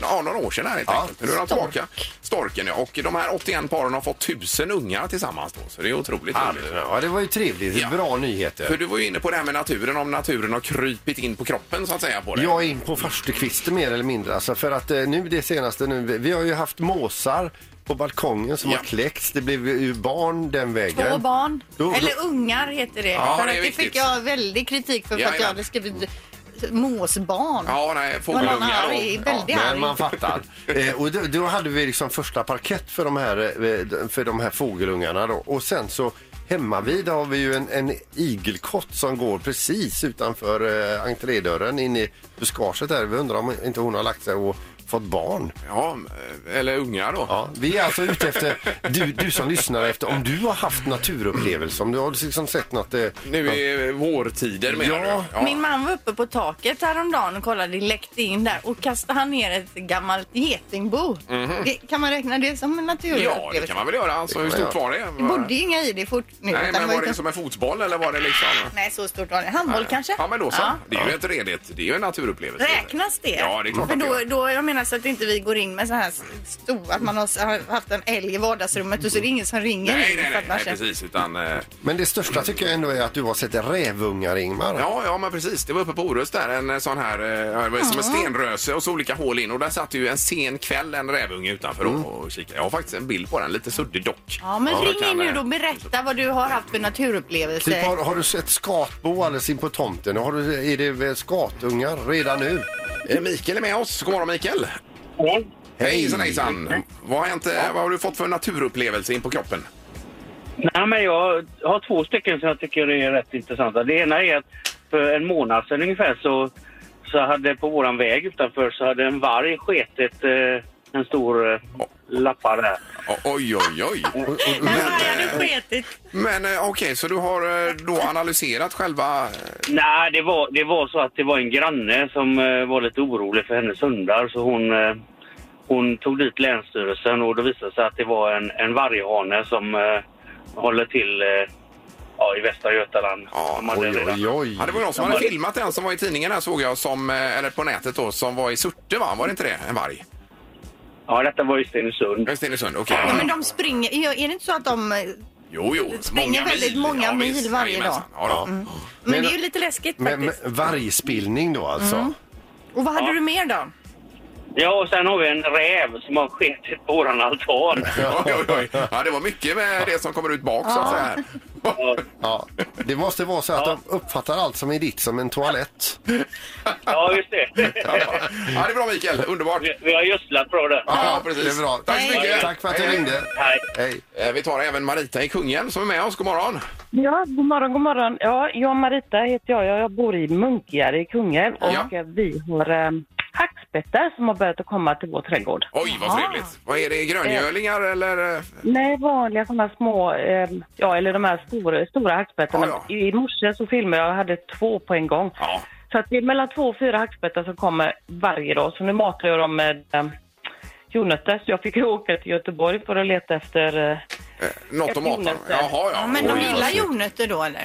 Speaker 1: ja, några år sedan här helt enkelt. Nu är de tillbaka. Storken ja. Och de här 81 paren har fått tusen ungar tillsammans då. Så det är otroligt roligt.
Speaker 3: Ja, det var ju trevligt. Bra nyheter.
Speaker 1: För du var ju inne på det här med naturen, om naturen har krypit in på kroppen så att säga på det.
Speaker 3: Jag är in på farstukvisten mer eller mindre. Alltså för att eh, nu det senaste nu, vi- vi har ju haft måsar på balkongen som har kläckts. Det blev ju barn den vägen.
Speaker 5: Två barn.
Speaker 3: Då- då-
Speaker 5: Eller ungar heter det.
Speaker 3: Ja,
Speaker 5: för
Speaker 3: det är
Speaker 5: att det
Speaker 3: viktigt.
Speaker 5: fick jag väldig kritik för, för att jag
Speaker 3: Jajamän.
Speaker 5: hade skrivit måsbarn.
Speaker 1: Ja, nej,
Speaker 5: Men han är arg, väldigt
Speaker 3: Ja,
Speaker 5: arg.
Speaker 3: men man fattar. Eh, och då, då hade vi liksom första parkett för de här, eh, för de här fågelungarna då. Och sen så hemma vid har vi ju en, en igelkott som går precis utanför eh, entrédörren in i buskaget där. Vi undrar om inte hon har lagt sig och fått barn.
Speaker 1: Ja, eh, eller unga då.
Speaker 3: Ja, vi är alltså ute efter, du, du som lyssnar efter, om du har haft naturupplevelser, om du har liksom sett något... Eh,
Speaker 1: Nu är vårtider menar
Speaker 3: Ja.
Speaker 1: du? Ja.
Speaker 2: Min man var uppe på taket häromdagen och kollade, läckte in där och kastade han ner ett gammalt getingbo.
Speaker 1: Mhm.
Speaker 2: Det, kan man räkna det som en
Speaker 1: Ja, det
Speaker 2: naturupplevelse?
Speaker 1: kan man väl göra. Alltså, hur
Speaker 3: Det kan man
Speaker 1: stort var det?
Speaker 2: det bodde ju inga i det fort nu.
Speaker 1: Nej,
Speaker 2: utan var
Speaker 1: men var det liksom-
Speaker 2: utan-
Speaker 1: som en fotboll eller var det liksom?
Speaker 2: Nej, så stort var det. Handboll kanske?
Speaker 1: Ja, men då så.
Speaker 2: Ja.
Speaker 1: Det är ju ett redigt, det är ju en naturupplevelse.
Speaker 2: Räknas det?
Speaker 1: Ja, det är klart
Speaker 2: För
Speaker 1: att det
Speaker 2: då,
Speaker 1: gör.
Speaker 2: då, Jag menar så att inte vi går in med så här stora, att man har har haft en älg i vardagsrummet och så är det ingen som ringer
Speaker 1: Nej,
Speaker 2: in
Speaker 1: nej,
Speaker 2: för
Speaker 1: nej,
Speaker 2: att man
Speaker 1: nej,
Speaker 2: känner-
Speaker 1: precis. Utan, eh,
Speaker 3: Men det största tycker jag ändå är att du har sett rävungar, Ingmar.
Speaker 1: ja, ja, men precis. Det var uppe på Orust där, en eh, sån här, eh, det var som en stenröse och så olika hål in. Och där satt ju en sen kväll en rävunge utanför och och kikade. Jag har faktiskt en bild på den, lite suddig dock.
Speaker 2: Mm. Ja, men
Speaker 1: jag
Speaker 2: ring
Speaker 1: kan,
Speaker 2: in nu
Speaker 1: eh,
Speaker 2: då och berätta vad du har haft för naturupplevelse.
Speaker 3: Typ, har, har du sett skatbo alldeles in på tomten? Har du, är det väl skatungar redan nu?
Speaker 1: Eh, Mikael är med oss. God morgon, Mikael. Hejsan, hejsan. Vad har, hänt, eh, vad har du fått för naturupplevelse in på kroppen?
Speaker 8: Nej, men jag har två stycken som jag tycker är rätt intressanta. Det ena är att för en månad sedan ungefär så, så hade på våran väg utanför så hade en varg sketit eh, en stor eh, lappare.
Speaker 1: Oj, oj, oj.
Speaker 2: Sketigt.
Speaker 1: Men eh, okej, så du har eh, då analyserat själva... eh,
Speaker 8: Nej, det var, det var så att det var en granne som eh, var lite orolig för hennes hundar så hon, eh, hon tog dit Länsstyrelsen och det visade sig att det var en, en varghane som eh, håller till eh, ja, i Västra Götaland. De hade redan-
Speaker 1: Ja, det var någon som hade filmat den som var i tidningen här såg jag, som, eh, eller på nätet då, som var i Surte va? Var det inte det? En varg?
Speaker 8: Ja, detta var i Stenungsund.
Speaker 1: Ja, i Stenungsund, okej.
Speaker 2: Ja, men de springer, är är det inte så att de...
Speaker 1: Jo, jo.
Speaker 2: springer väldigt många
Speaker 1: Ja,
Speaker 2: mil
Speaker 1: visst.
Speaker 2: varje Mm.
Speaker 1: Jajamensan. Ja, då.
Speaker 2: Men, det är ju lite läskigt
Speaker 3: Men, men
Speaker 2: faktiskt.
Speaker 3: vargspillning då alltså?
Speaker 2: Mm. Och vad hade
Speaker 8: Ja.
Speaker 2: du mer då?
Speaker 8: Ja, och sen har vi en räv som har sketit på våran altan.
Speaker 1: Oj, oj, oj. Ja, det var mycket med det som kommer ut bak så att
Speaker 8: Ja.
Speaker 1: säga. här.
Speaker 3: Ja, det måste vara så att de uppfattar allt som är ditt som en toalett.
Speaker 8: Ja, just det.
Speaker 1: Ja, det är bra Mikael. Underbart.
Speaker 8: Vi, vi har gödslat bra där.
Speaker 1: Ja, precis.
Speaker 3: Det är bra.
Speaker 1: Tack så mycket.
Speaker 3: Tack för att du
Speaker 1: Hej, hej.
Speaker 3: ringde.
Speaker 8: Hej.
Speaker 3: Hej.
Speaker 1: Eh, Vi tar även Marita i Kungälv som är med oss. God morgon.
Speaker 11: Ja, god morgon, god morgon. Ja, jag Marita heter jag. Jag- Jag bor i Munkegärde i Kungälv och
Speaker 1: Ja.
Speaker 11: eh, vi har eh, hackspettar som har börjat att komma till vår trädgård.
Speaker 1: Oj, vad trevligt. Vad är det? Gröngölingar eller? eh,
Speaker 11: Nej, vanliga sådana små, eh, ja eller de här stora, stora hackspettarna.
Speaker 1: Ja,
Speaker 11: I morse så filmade jag och hade två på en gång.
Speaker 1: Ja.
Speaker 11: Så att det är mellan två och fyra hackspettar som kommer varje dag. Så nu matar jag dem med eh, jordnötter. Så jag fick ju åka till Göteborg för att leta efter eh,
Speaker 1: Något att mata dem? Jaha, ja.
Speaker 2: Men de
Speaker 1: Oj,
Speaker 2: gillar
Speaker 1: vad snyggt.
Speaker 2: jordnötter då eller?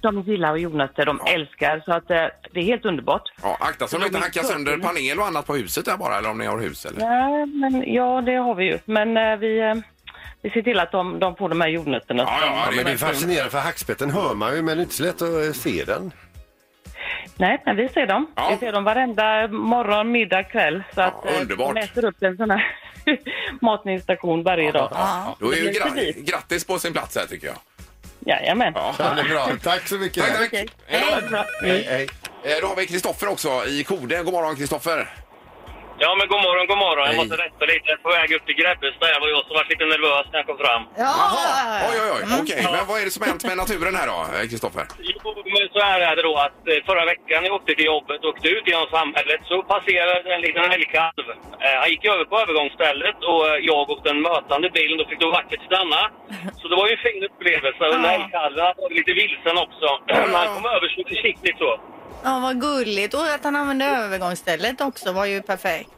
Speaker 11: De gillar jordnötter, de älskar. Så att, eh, det är helt underbart.
Speaker 1: Ja, akta så de inte hackar sönder panel och annat på huset där bara, eller om ni har hus eller?
Speaker 11: Nej, men ja, det har vi ju. Men eh, vi, eh, vi ser till att de, de får de här jordnötterna.
Speaker 3: Ja, men det är fascinerande för hackspetten hör man ju men det är inte så lätt att eh, se den.
Speaker 11: Nej, men vi ser dem. Vi ser dem varenda morgon, middag, kväll. Så att eh,
Speaker 1: underbart.
Speaker 11: de äter upp en sån här matningsstation varje dag.
Speaker 1: Då är ju
Speaker 11: Det blir
Speaker 1: gra-
Speaker 11: precis.
Speaker 1: grattis på sin plats här tycker jag.
Speaker 11: Jajamän.
Speaker 3: Ja, det är bra. Tack så mycket.
Speaker 1: Tack, tack.
Speaker 11: Hej då.
Speaker 3: Hej, hej.
Speaker 1: Eh, Då har vi Kristoffer också i Kode. God morgon Kristoffer.
Speaker 8: Ja, men god morgon, god morgon. Jag måste rätta lite. På väg upp till Grebbestad här var jag som var lite nervös när jag kom fram.
Speaker 1: Jaha, oj, oj, oj. Okej, men vad är det som har hänt med naturen här då, eh, Kristoffer?
Speaker 8: Jo, men så här är det då att eh, förra veckan när jag åkte till jobbet och åkte ut genom samhället så passerade en liten älgkalv. Eh, Han gick över på övergångsstället och eh, jag och den mötande bilen då fick då vackert stanna. Så det var ju en fin upplevelse. Och den här älgkalven han var lite vilsen också. Han kom över så försiktigt så.
Speaker 2: Ja, vad gulligt. Och att han använde övergångsstället också var ju perfekt.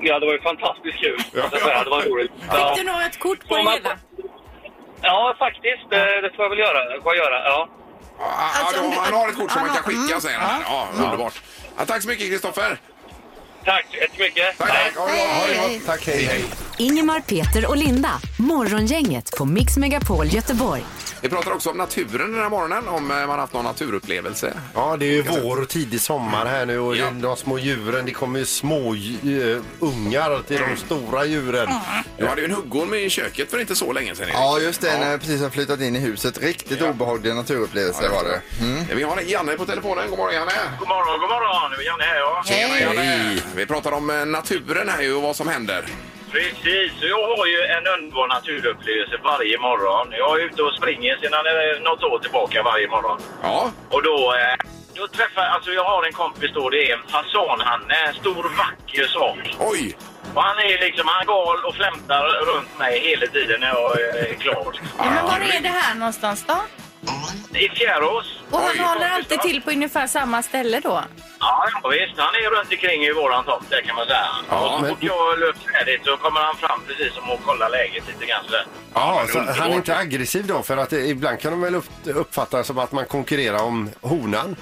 Speaker 8: Ja, det var ju fantastiskt kul. Det var roligt. Ja.
Speaker 2: Fick du nog ett kort på det hela?
Speaker 8: Ja, faktiskt. eh, Det får jag väl göra. Det får jag göra, ja.
Speaker 1: Ah, ja, då, Alltså, han har Mm. ett kort som man kan skicka säger han. Ja, underbart. Ja, tack så mycket Kristoffer.
Speaker 8: Tack så mycket.
Speaker 1: Tack, tack. Ha det bra, ha det bra.
Speaker 3: Tack, hej, hej.
Speaker 4: Ingemar, Peter och Linda. Morgongänget på Mix Megapol Göteborg.
Speaker 1: Vi pratar också om naturen den här morgonen, om eh, man haft någon naturupplevelse.
Speaker 3: Ja, det är ju vår och tidig sommar här nu och det- de små djuren, det kommer ju små dj- eh, ungar till de stora djuren.
Speaker 1: Du hade ju en huggorm i köket för inte så länge sedan. Erik.
Speaker 6: Ja, just det. När jag precis har flyttat in i huset. Riktigt obehaglig naturupplevelse var det. Mm.
Speaker 1: Vi har Janne på telefonen. God morgon Janne.
Speaker 8: God morgon, god morgon. Janne här, ja.
Speaker 1: Tjena Janne. Vi pratar om eh, naturen här ju och vad som händer.
Speaker 8: Precis, och jag har ju en underbar naturupplevelse varje morgon. Jag är ute och springer sedan eh, något år tillbaka varje morgon.
Speaker 1: Ja.
Speaker 8: Och då, eh, då då träffade, alltså jag har en kompis då, det är en fasanhanne, en stor vacker sak.
Speaker 1: Oj!
Speaker 8: Och han är liksom, han gal och flämtar runt mig hela tiden när jag eh, är glad.
Speaker 2: Men var är det här någonstans då?
Speaker 8: I Fjärås.
Speaker 2: Och han håller alltid till på ungefär samma ställe då?
Speaker 8: Ja, ja, visst. Han är runt omkring i våran tomt, det kan man säga. och så fort jag löper färdigt så kommer han fram precis som och kollar läget lite grann sådär.
Speaker 3: Ja,
Speaker 8: det
Speaker 3: så
Speaker 8: är underbart.
Speaker 3: han är inte aggressiv då för att eh, ibland kan de väl upp- uppfatta det som att man konkurrerar om honan.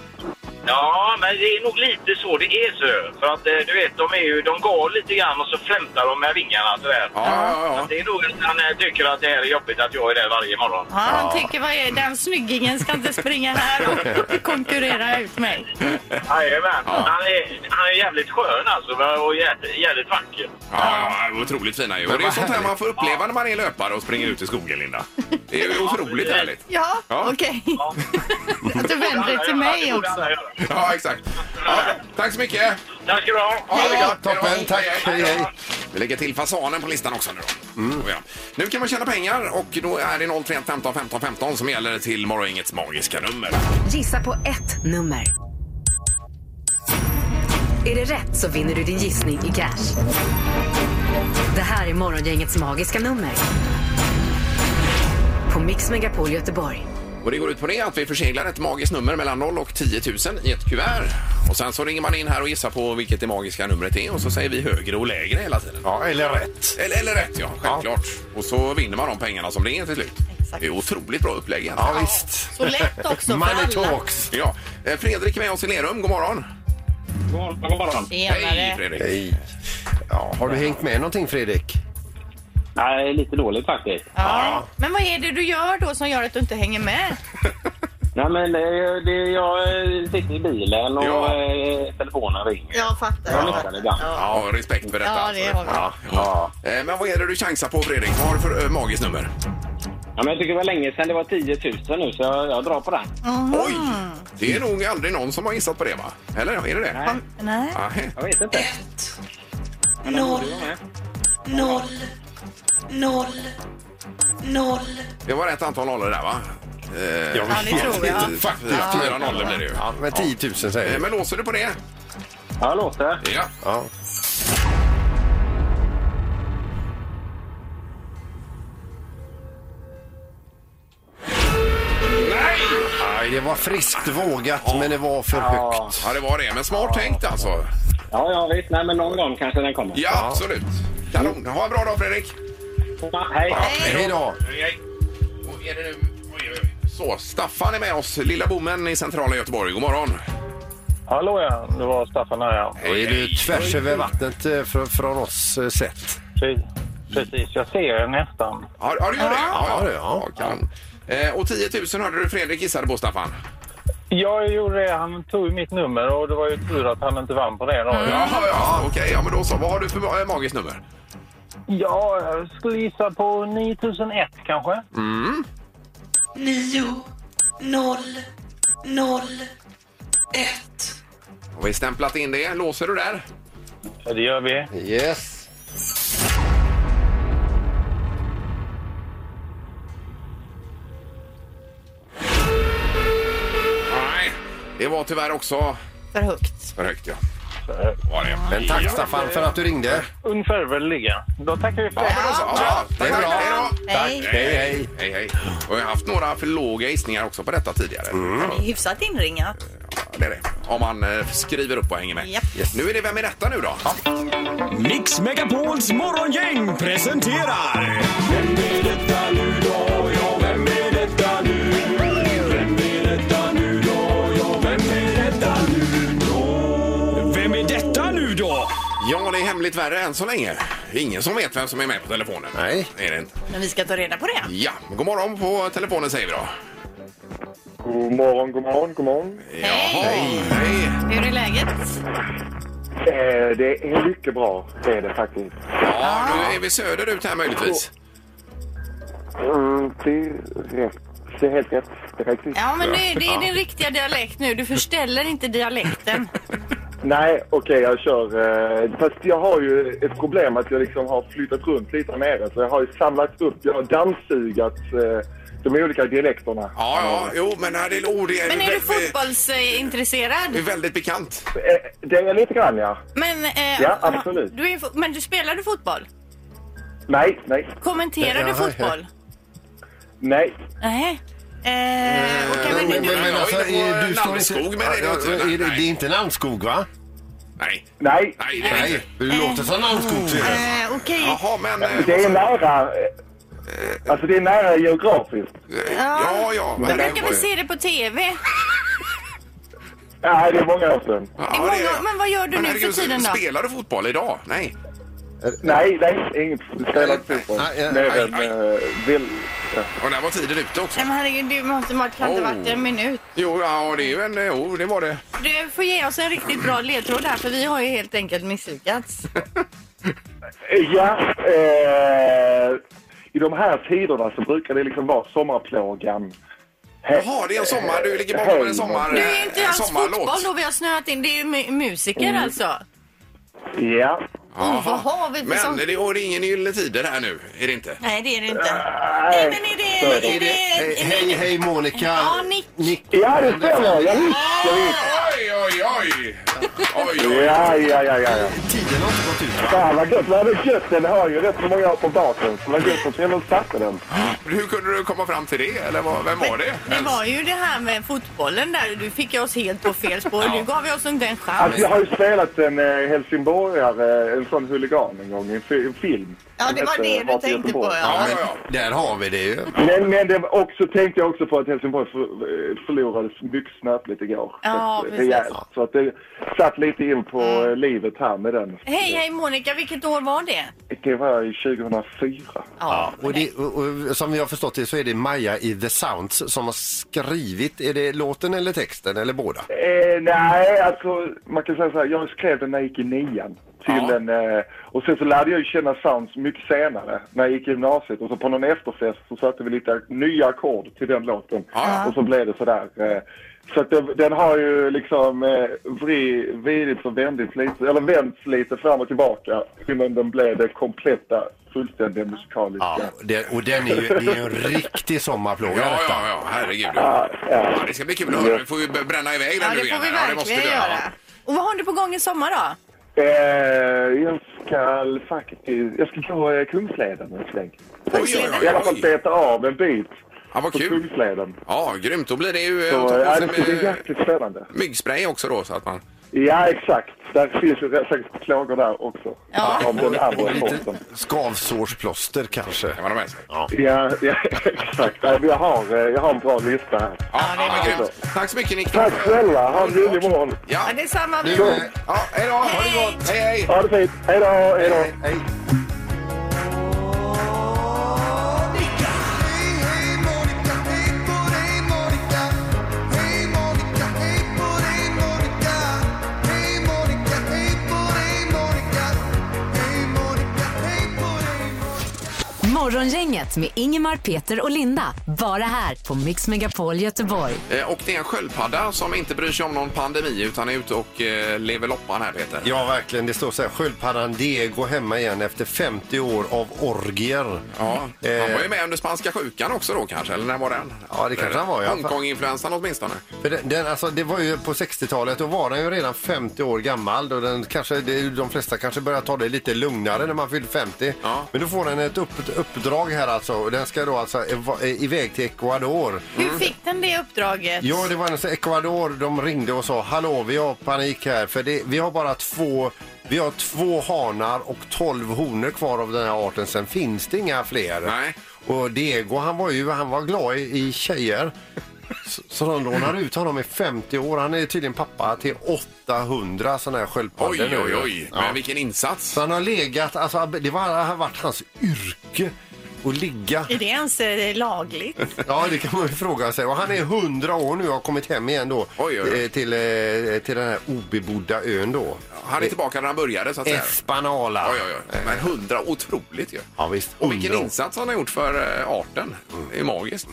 Speaker 8: Ja, men det är nog lite så det är så. För att eh, du vet, de är ju, de går lite grann och så flämtar de med vingarna sådär.
Speaker 1: Ja, ja, ja.
Speaker 8: Så Det är nog att han eh, tycker att det här är jobbigt att jag är där varje morgon.
Speaker 2: Ja, han tycker vad är den snyggingen ska inte springa här och konkurrera ut mig.
Speaker 8: Jajamän. Han, är, han är jävligt skön alltså och jävligt, jävligt vacker.
Speaker 1: Ja, ja, otroligt fina ju. Och det är
Speaker 8: vad
Speaker 1: sånt här man får uppleva när man är löpare och springer ut i skogen, Linda. Det är ju otroligt härligt.
Speaker 2: Ja,
Speaker 1: Ja.
Speaker 2: okej. Att du vänder dig till mig också.
Speaker 1: Ja, exakt. Ja, tack så mycket!
Speaker 8: Tack ska du ha!
Speaker 1: Ha det gott!
Speaker 3: Toppen, tack. Hej, hej. Mm.
Speaker 1: Vi lägger till fasanen på listan också nu då. Ja. Nu kan man tjäna pengar och då är det 031 15 15 15 som gäller till morgongängets magiska nummer.
Speaker 4: Gissa på ett nummer. Är det rätt så vinner du din gissning i cash. Det här är Morgongängets magiska nummer. På Mix Megapol Göteborg.
Speaker 1: Och det går ut på det att vi förseglar ett magiskt nummer mellan 0 och 10 000 i ett kuvert. Och sen så ringer man in här och gissar på vilket det magiska numret är och så säger vi högre och lägre hela tiden.
Speaker 3: Ja, eller rätt.
Speaker 1: Eller, eller rätt, ja. Självklart. Och så vinner man de pengarna som det är till slut. Det är otroligt bra upplägg. egentligen.
Speaker 3: Ja, visst.
Speaker 2: Så lätt också för Money alla. talks.
Speaker 1: Ja. Eh, Fredrik är med oss i Lerum. God morgon. God morgon.
Speaker 2: Tjenare.
Speaker 1: Hej, Fredrik.
Speaker 3: Hej. Ja, har du hängt med någonting Fredrik?
Speaker 12: Nej, lite dåligt faktiskt.
Speaker 2: Ja. Men vad är det du gör då som gör att du inte hänger med?
Speaker 12: Nej, men det, det, jag eh, sitter i bilen och
Speaker 1: Ja.
Speaker 12: eh, telefonen ringer.
Speaker 2: Jag fattar.
Speaker 12: Jag missar det ibland.
Speaker 1: Ja, respekt för detta.
Speaker 2: Ja,
Speaker 1: alltså.
Speaker 2: det har vi.
Speaker 1: Ja. Ja. Eh, Men vad är det du chansar på, Fredrik? Vad har du för eh, magiskt nummer?
Speaker 12: Ja, men jag tycker det var länge sedan det var 10 000 nu, så jag, jag drar på den.
Speaker 1: Oj! Det är nog aldrig någon som har gissat på det, va? Eller är det det? Nej.
Speaker 2: Mm. Nej.
Speaker 12: Jag vet inte.
Speaker 13: Noll. Noll. Noll. Noll.
Speaker 1: Det var rätt antal nollor där, va? Eh,
Speaker 3: Ja, det tror jag.
Speaker 1: Faktiskt.
Speaker 3: Ja.
Speaker 1: Fyra nollor blir det ju.
Speaker 3: Ja, men 10 000 säger
Speaker 1: Eh,
Speaker 3: vi.
Speaker 1: Men låser du på det?
Speaker 12: Ja, låter.
Speaker 1: Ja.
Speaker 3: Ja. Nej, det var friskt vågat, men det var för högt.
Speaker 1: Ja, det var det. Men smart tänkt alltså.
Speaker 12: Ja, ja, visst. Nej, men någon gång kanske den kommer.
Speaker 1: Ja, absolut. Kanon. Ha en bra dag, Fredrik.
Speaker 12: Hej.
Speaker 3: Hej då.
Speaker 1: Hej. Och är det nu... Oj, oj, oj. Så, Staffan är med oss. Lilla bommen i centrala Göteborg. God morgon.
Speaker 14: Hallå ja, det var Staffan här ja.
Speaker 3: Då är du tvärs över vattnet eh, fr- från oss eh, sett.
Speaker 14: Precis, jag ser er nästan.
Speaker 1: Ja, ja, du gör det? Ja, ja, ja. Kanon. Eh, och 10 000 hörde du Fredrik gissade på, Staffan.
Speaker 14: Jag gjorde det, han tog ju mitt nummer och det var ju tur att han inte vann på det då.
Speaker 1: Ja, ja, okej. Ja, men då så. Vad har du för ma- eh, magiskt nummer?
Speaker 14: Ja, jag skulle gissa på 9001 kanske.
Speaker 1: Mm.
Speaker 13: Nio. Noll. Noll.
Speaker 1: Har vi stämplat in det? Låser du där?
Speaker 14: Ja, det gör vi.
Speaker 3: Yes.
Speaker 1: Nej, det var tyvärr också
Speaker 2: För högt.
Speaker 1: för högt. Ja. Var det.
Speaker 3: Men tack Staffan för att du ringde.
Speaker 14: Ungefär väligen. Då tackar vi för det.
Speaker 1: Ja, tack, tack, hej då.
Speaker 2: Hej.
Speaker 1: Hej, hej. hej, hej. Och jag har haft några för låga gissningar också på detta tidigare.
Speaker 5: Det är hyfsat inringat.
Speaker 1: Ja, det är det. Om man eh, skriver upp och hänger med.
Speaker 5: Japp.
Speaker 1: Nu är det Vem är detta nu då?
Speaker 15: Mix Megapols morgongäng presenterar... Vem är detta nu då? Ja, vem är detta nu? Vem är detta nu då? Ja, vem är detta nu då? Vem är detta nu då?
Speaker 1: Ja, det är hemligt värre än så länge. Ingen som vet vem som är med på telefonen. Nej. Är det inte.
Speaker 2: Men vi ska ta reda på det.
Speaker 1: Ja, god morgon på telefonen säger vi då.
Speaker 14: God morgon, god morgon, god morgon.
Speaker 1: Hej! Hej!
Speaker 2: Hur är läget?
Speaker 14: Det är mycket bra, det är det faktiskt.
Speaker 1: Ja, nu är vi söderut här möjligtvis.
Speaker 14: Mm, det är rätt. Det är helt rätt. Det är riktigt.
Speaker 2: Ja, men nu, det är din riktiga dialekt nu. Du förställer inte dialekten.
Speaker 14: Nej, okej, jag kör. eh, Fast jag har ju ett problem att jag liksom har flyttat runt lite här nere. Så jag har ju samlat upp, jag har dammsugat eh, de olika dialekterna.
Speaker 1: Ja, ja, jo, men nej, det, oh, det, är,
Speaker 2: Men är du
Speaker 1: det, det är
Speaker 2: fotbollsintresserad?
Speaker 1: väldigt bekant.
Speaker 14: Eh, Det är lite grann, ja.
Speaker 2: Men, eh,
Speaker 14: Ja, absolut.
Speaker 2: Du är, fo- men du spelar du fotboll?
Speaker 14: Nej, nej.
Speaker 2: Kommenterar du fotboll?
Speaker 14: Nej.
Speaker 2: Nej. Eh, okej, men
Speaker 3: Men,
Speaker 2: nu-
Speaker 3: men, men alltså,
Speaker 1: Jag är inne på
Speaker 3: är, du står
Speaker 1: Namnskog,
Speaker 3: inte...
Speaker 1: men är det något-
Speaker 3: Ja, är det, det
Speaker 1: nej.
Speaker 3: är inte Namnskog, va?
Speaker 1: Nej.
Speaker 14: Nej.
Speaker 1: Nej, det är det
Speaker 3: Nej,
Speaker 1: inte.
Speaker 3: det låter som Namnskog. ser jag.
Speaker 2: Eh, okej.
Speaker 1: Jaha, men... eh,
Speaker 14: Det är nära... eh, Alltså det är nära geografiskt.
Speaker 1: Ja, ja.
Speaker 2: Du brukar väl se det på TV?
Speaker 14: Nej, det är många år sedan.
Speaker 1: Ja,
Speaker 2: Många-
Speaker 1: det är-
Speaker 2: men vad gör du
Speaker 1: Men
Speaker 2: nu för
Speaker 1: herregud,
Speaker 2: tiden då?
Speaker 1: Spelar du fotboll idag? Nej.
Speaker 14: Eh, Nej, nej, inget. Vi spelar inte fotboll. Mer än... eh, vill- ja.
Speaker 1: Och där var tiden ute också.
Speaker 2: Nej, men herregud, du måste ha kan inte
Speaker 1: Oh.
Speaker 2: varit en minut.
Speaker 1: Jo, ja, det är ju en... eh, Jo, det var det.
Speaker 2: Du får ge oss en riktigt bra ledtråd här för vi har ju helt enkelt misslyckats.
Speaker 14: Ja, eh, i de här tiderna så brukar det liksom vara sommarplågan. He-
Speaker 1: Jaha, det är en sommar. Du ligger bakom en sommar...
Speaker 2: Du är inte
Speaker 1: Eh, en
Speaker 2: alls
Speaker 1: sommarlåt.
Speaker 2: fotboll då vi har snöat in. Det är ju mu- musiker
Speaker 1: Mm.
Speaker 2: alltså.
Speaker 14: Ja.
Speaker 1: Jaha.
Speaker 2: vad har vi för
Speaker 1: Men
Speaker 2: sång?
Speaker 1: det, och det är ingen Gyllene Tider här nu, är det inte?
Speaker 2: Nej, det är det inte.
Speaker 14: Nej,
Speaker 2: men är det...
Speaker 3: Är
Speaker 2: Är
Speaker 3: det- Hej,
Speaker 2: det...
Speaker 3: hej, hej Monica.
Speaker 2: Ja, Nick.
Speaker 14: Ja, det stämmer. Jag visste, jag visste.
Speaker 1: Oj, oj, oj! Oj, oj.
Speaker 14: Ja, ja, ja, ja. ja.
Speaker 3: Tiden har inte gått ut. va?
Speaker 14: Fan vad gött. Nej, men gött. Den har ju rätt så många år på baken. Så vad gött att jag ändå satte den.
Speaker 1: Hur kunde du komma fram till det? Eller vad, vem var det?
Speaker 2: Det var ju det här med fotbollen där. Du fick ju oss helt på fel spår. Du gav ju oss inte en chans.
Speaker 14: Alltså jag har ju spelat en eh, helsingborgare, en sån huligan en gång i en, fi- en film.
Speaker 2: Ja,
Speaker 14: Den
Speaker 2: det var
Speaker 14: hette
Speaker 2: det du
Speaker 14: Vart i
Speaker 2: tänkte på,
Speaker 14: Göteborg.
Speaker 2: ja.
Speaker 3: Ja, men där har vi det ju.
Speaker 14: Men, men det var också, tänkte jag också på att Helsingborg för, eh, förlorade mycket snöpligt igår.
Speaker 2: Ja,
Speaker 14: Så att, eh,
Speaker 2: precis.
Speaker 14: rejält. Så att det satt lite in på eh, livet här med den.
Speaker 2: Hej, hej Monica. Vilket år var det?
Speaker 14: Det var i 2004.
Speaker 3: Ja, och, det, och, och som vi har förstått det så är det Maja i The Sounds som har skrivit, är det låten eller texten eller båda?
Speaker 14: Eh, nej, alltså man kan säga så här, jag skrev den när jag gick i nian. Till en, eh, och sen så lärde jag ju känna sounds mycket senare när jag gick i gymnasiet och så på någon efterfest så satte vi lite nya ackord till den låten och så blev det sådär. Eh, så att den, den har ju liksom eh, vri- vridits och vänts lite, eller vänts lite fram och tillbaka innan den blev det kompletta, fullständiga musikaliska.
Speaker 3: Ja, det, och den är ju, det är ju en riktig sommarplåga
Speaker 1: Ja,
Speaker 3: detta.
Speaker 1: ja, ja, herregud. Ja, det ska bli kul att höra. Vi får ju bränna iväg den
Speaker 2: Ja,
Speaker 1: nu
Speaker 2: det
Speaker 1: igen.
Speaker 2: får vi
Speaker 1: här. det måste
Speaker 2: verkligen
Speaker 1: vi göra.
Speaker 2: göra. Och vad har du på gång i sommar då?
Speaker 14: Eh, jag ska faktiskt, jag ska gå eh, Kungsleden en sväng. I alla fall beta av en bit
Speaker 1: Ja, vad
Speaker 14: på
Speaker 1: kul.
Speaker 14: Kungsleden.
Speaker 1: Ja, grymt. Då blir det ju... eh,
Speaker 14: Så,
Speaker 1: att ta på
Speaker 14: ja,
Speaker 1: sig
Speaker 14: det ska bli
Speaker 1: med
Speaker 14: jäkligt spännande.
Speaker 1: Myggspray också då, så att man...
Speaker 14: Ja, exakt. Där finns ju säkert plågor där också. Av den andra sorten.
Speaker 3: Skavsårsplåster kanske.
Speaker 1: Kan man ha med sig. Ja,
Speaker 14: Ja, ja exakt. Nej, men Jag har, eh, jag har en bra lista här.
Speaker 1: ja, men grymt. Tack så mycket, Nick.
Speaker 14: Tack snälla. Ha en ljuvlig morgon.
Speaker 1: Ja,
Speaker 2: Ja, det är samma.
Speaker 3: Nu,
Speaker 14: Go.
Speaker 3: eh,
Speaker 1: ja hej då. Ha det gott. Hej, hej.
Speaker 14: Ha det fint. Hej då. Hej då.
Speaker 3: hej.
Speaker 4: Morgongänget med Ingemar, Peter och Linda. Bara här på Mix Megapol Göteborg.
Speaker 1: Eh, Och det är en sköldpadda som inte bryr sig om någon pandemi utan är ute och eh, lever loppan här, Peter.
Speaker 3: Ja, verkligen. Det står så här, sköldpaddan Diego hemma igen efter 50 år av orgier.
Speaker 1: Ja, han
Speaker 3: Eh,
Speaker 1: var ju med under spanska sjukan också då kanske, eller när var den?
Speaker 3: Ja, det kanske han var, ja.
Speaker 1: Hongkonginfluensan åtminstone.
Speaker 3: För den, den, alltså, det var ju på 60-talet, då var den ju redan 50 år gammal. Och den kanske, det, de flesta kanske börjar ta det lite lugnare när man fyller 50. Men då får den ett upp, uppdrag här alltså. Och den ska då alltså eva- eh, iväg till Ecuador.
Speaker 2: Hur fick den det uppdraget?
Speaker 3: Ja, det var en sån- Ecuador. De ringde och sa hallå, vi har panik här för det, vi har bara två vi har två hanar och tolv honor kvar av den här arten. Sen finns det inga fler.
Speaker 1: Nej.
Speaker 3: Och Diego, han var ju han var glad i, i tjejer. Så, så de lånar ut honom i 50 år. Han är tydligen pappa till 800 sådana här sköldpaddor.
Speaker 1: Oj,
Speaker 3: nu.
Speaker 1: oj, oj. Men vilken insats.
Speaker 3: Så han har legat, alltså det var, det har varit hans yrke att ligga.
Speaker 2: Är det ens eh, lagligt?
Speaker 3: Ja, det kan man ju fråga sig. Och han är 100 år nu och har kommit hem igen då
Speaker 1: Oj, oj, oj.
Speaker 3: eh, Till, eh, till den här obebodda ön då.
Speaker 1: Han är tillbaka där han började så att säga.
Speaker 3: Espanala.
Speaker 1: Oj, oj, oj. Men hundra, otroligt ju.
Speaker 3: Ja, Mm. visst.
Speaker 1: Och vilken
Speaker 3: 100 år.
Speaker 1: insats han har gjort för eh, arten. Det är magiskt.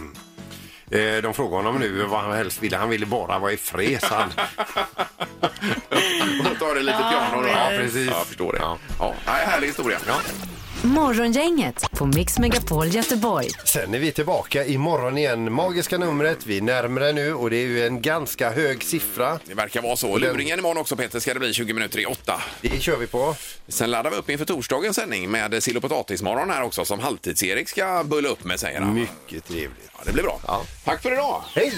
Speaker 3: Eh, De frågar honom nu vad han helst ville. Han ville bara vara i fred, sa han.
Speaker 1: Då tar det lite
Speaker 2: Ja,
Speaker 1: piano då.
Speaker 2: men-
Speaker 3: Ja, precis.
Speaker 1: Ja, jag förstår det.
Speaker 3: Ja.
Speaker 1: Ja. Ja, härlig historia.
Speaker 4: Morgongänget på Mix Megapol Göteborg.
Speaker 3: Sen är vi tillbaka imorgon igen. Magiska numret, vi är närmare nu och det är ju en ganska hög siffra.
Speaker 1: Det verkar vara så. Luringen imorgon också Peter ska det bli 20 minuter i åtta.
Speaker 3: Det kör vi på.
Speaker 1: Sen laddar vi upp inför torsdagens sändning med sill och potatismorgon här också som halvtids-Erik ska bulla upp med säger han.
Speaker 3: Mycket trevligt.
Speaker 1: Ja, det blir bra. Tack för idag!
Speaker 3: Hej!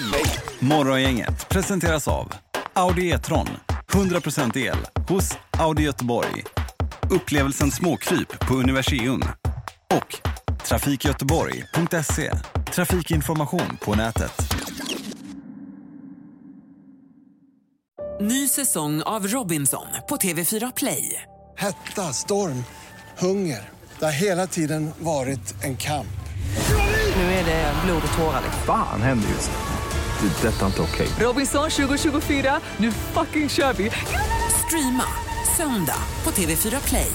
Speaker 16: Morgongänget presenteras av Audi E-tron. 100% el hos Audi Göteborg. Upplevelsen småkryp på Universium. Och trafikgöteborg.se. Trafikinformation på nätet.
Speaker 17: Ny säsong av Robinson på TV4 Play.
Speaker 18: Hetta, storm, hunger. Det har hela tiden varit en kamp.
Speaker 17: Nu är det blod och tårar.
Speaker 19: Fan händer just nu. Det. är Detta är inte okej.
Speaker 17: Robinson 2024, nu fucking kör vi! Streama söndag på TV4 Play.